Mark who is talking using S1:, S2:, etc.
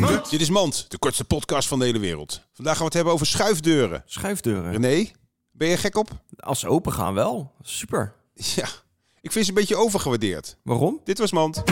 S1: Mand.
S2: Dit is Mand, de kortste podcast van de hele wereld. Vandaag gaan we het hebben over schuifdeuren.
S1: Schuifdeuren.
S2: René, ben je gek op?
S1: Als ze open gaan wel. Super.
S2: Ja, ik vind ze een beetje overgewaardeerd.
S1: Waarom?
S2: Dit was Mand.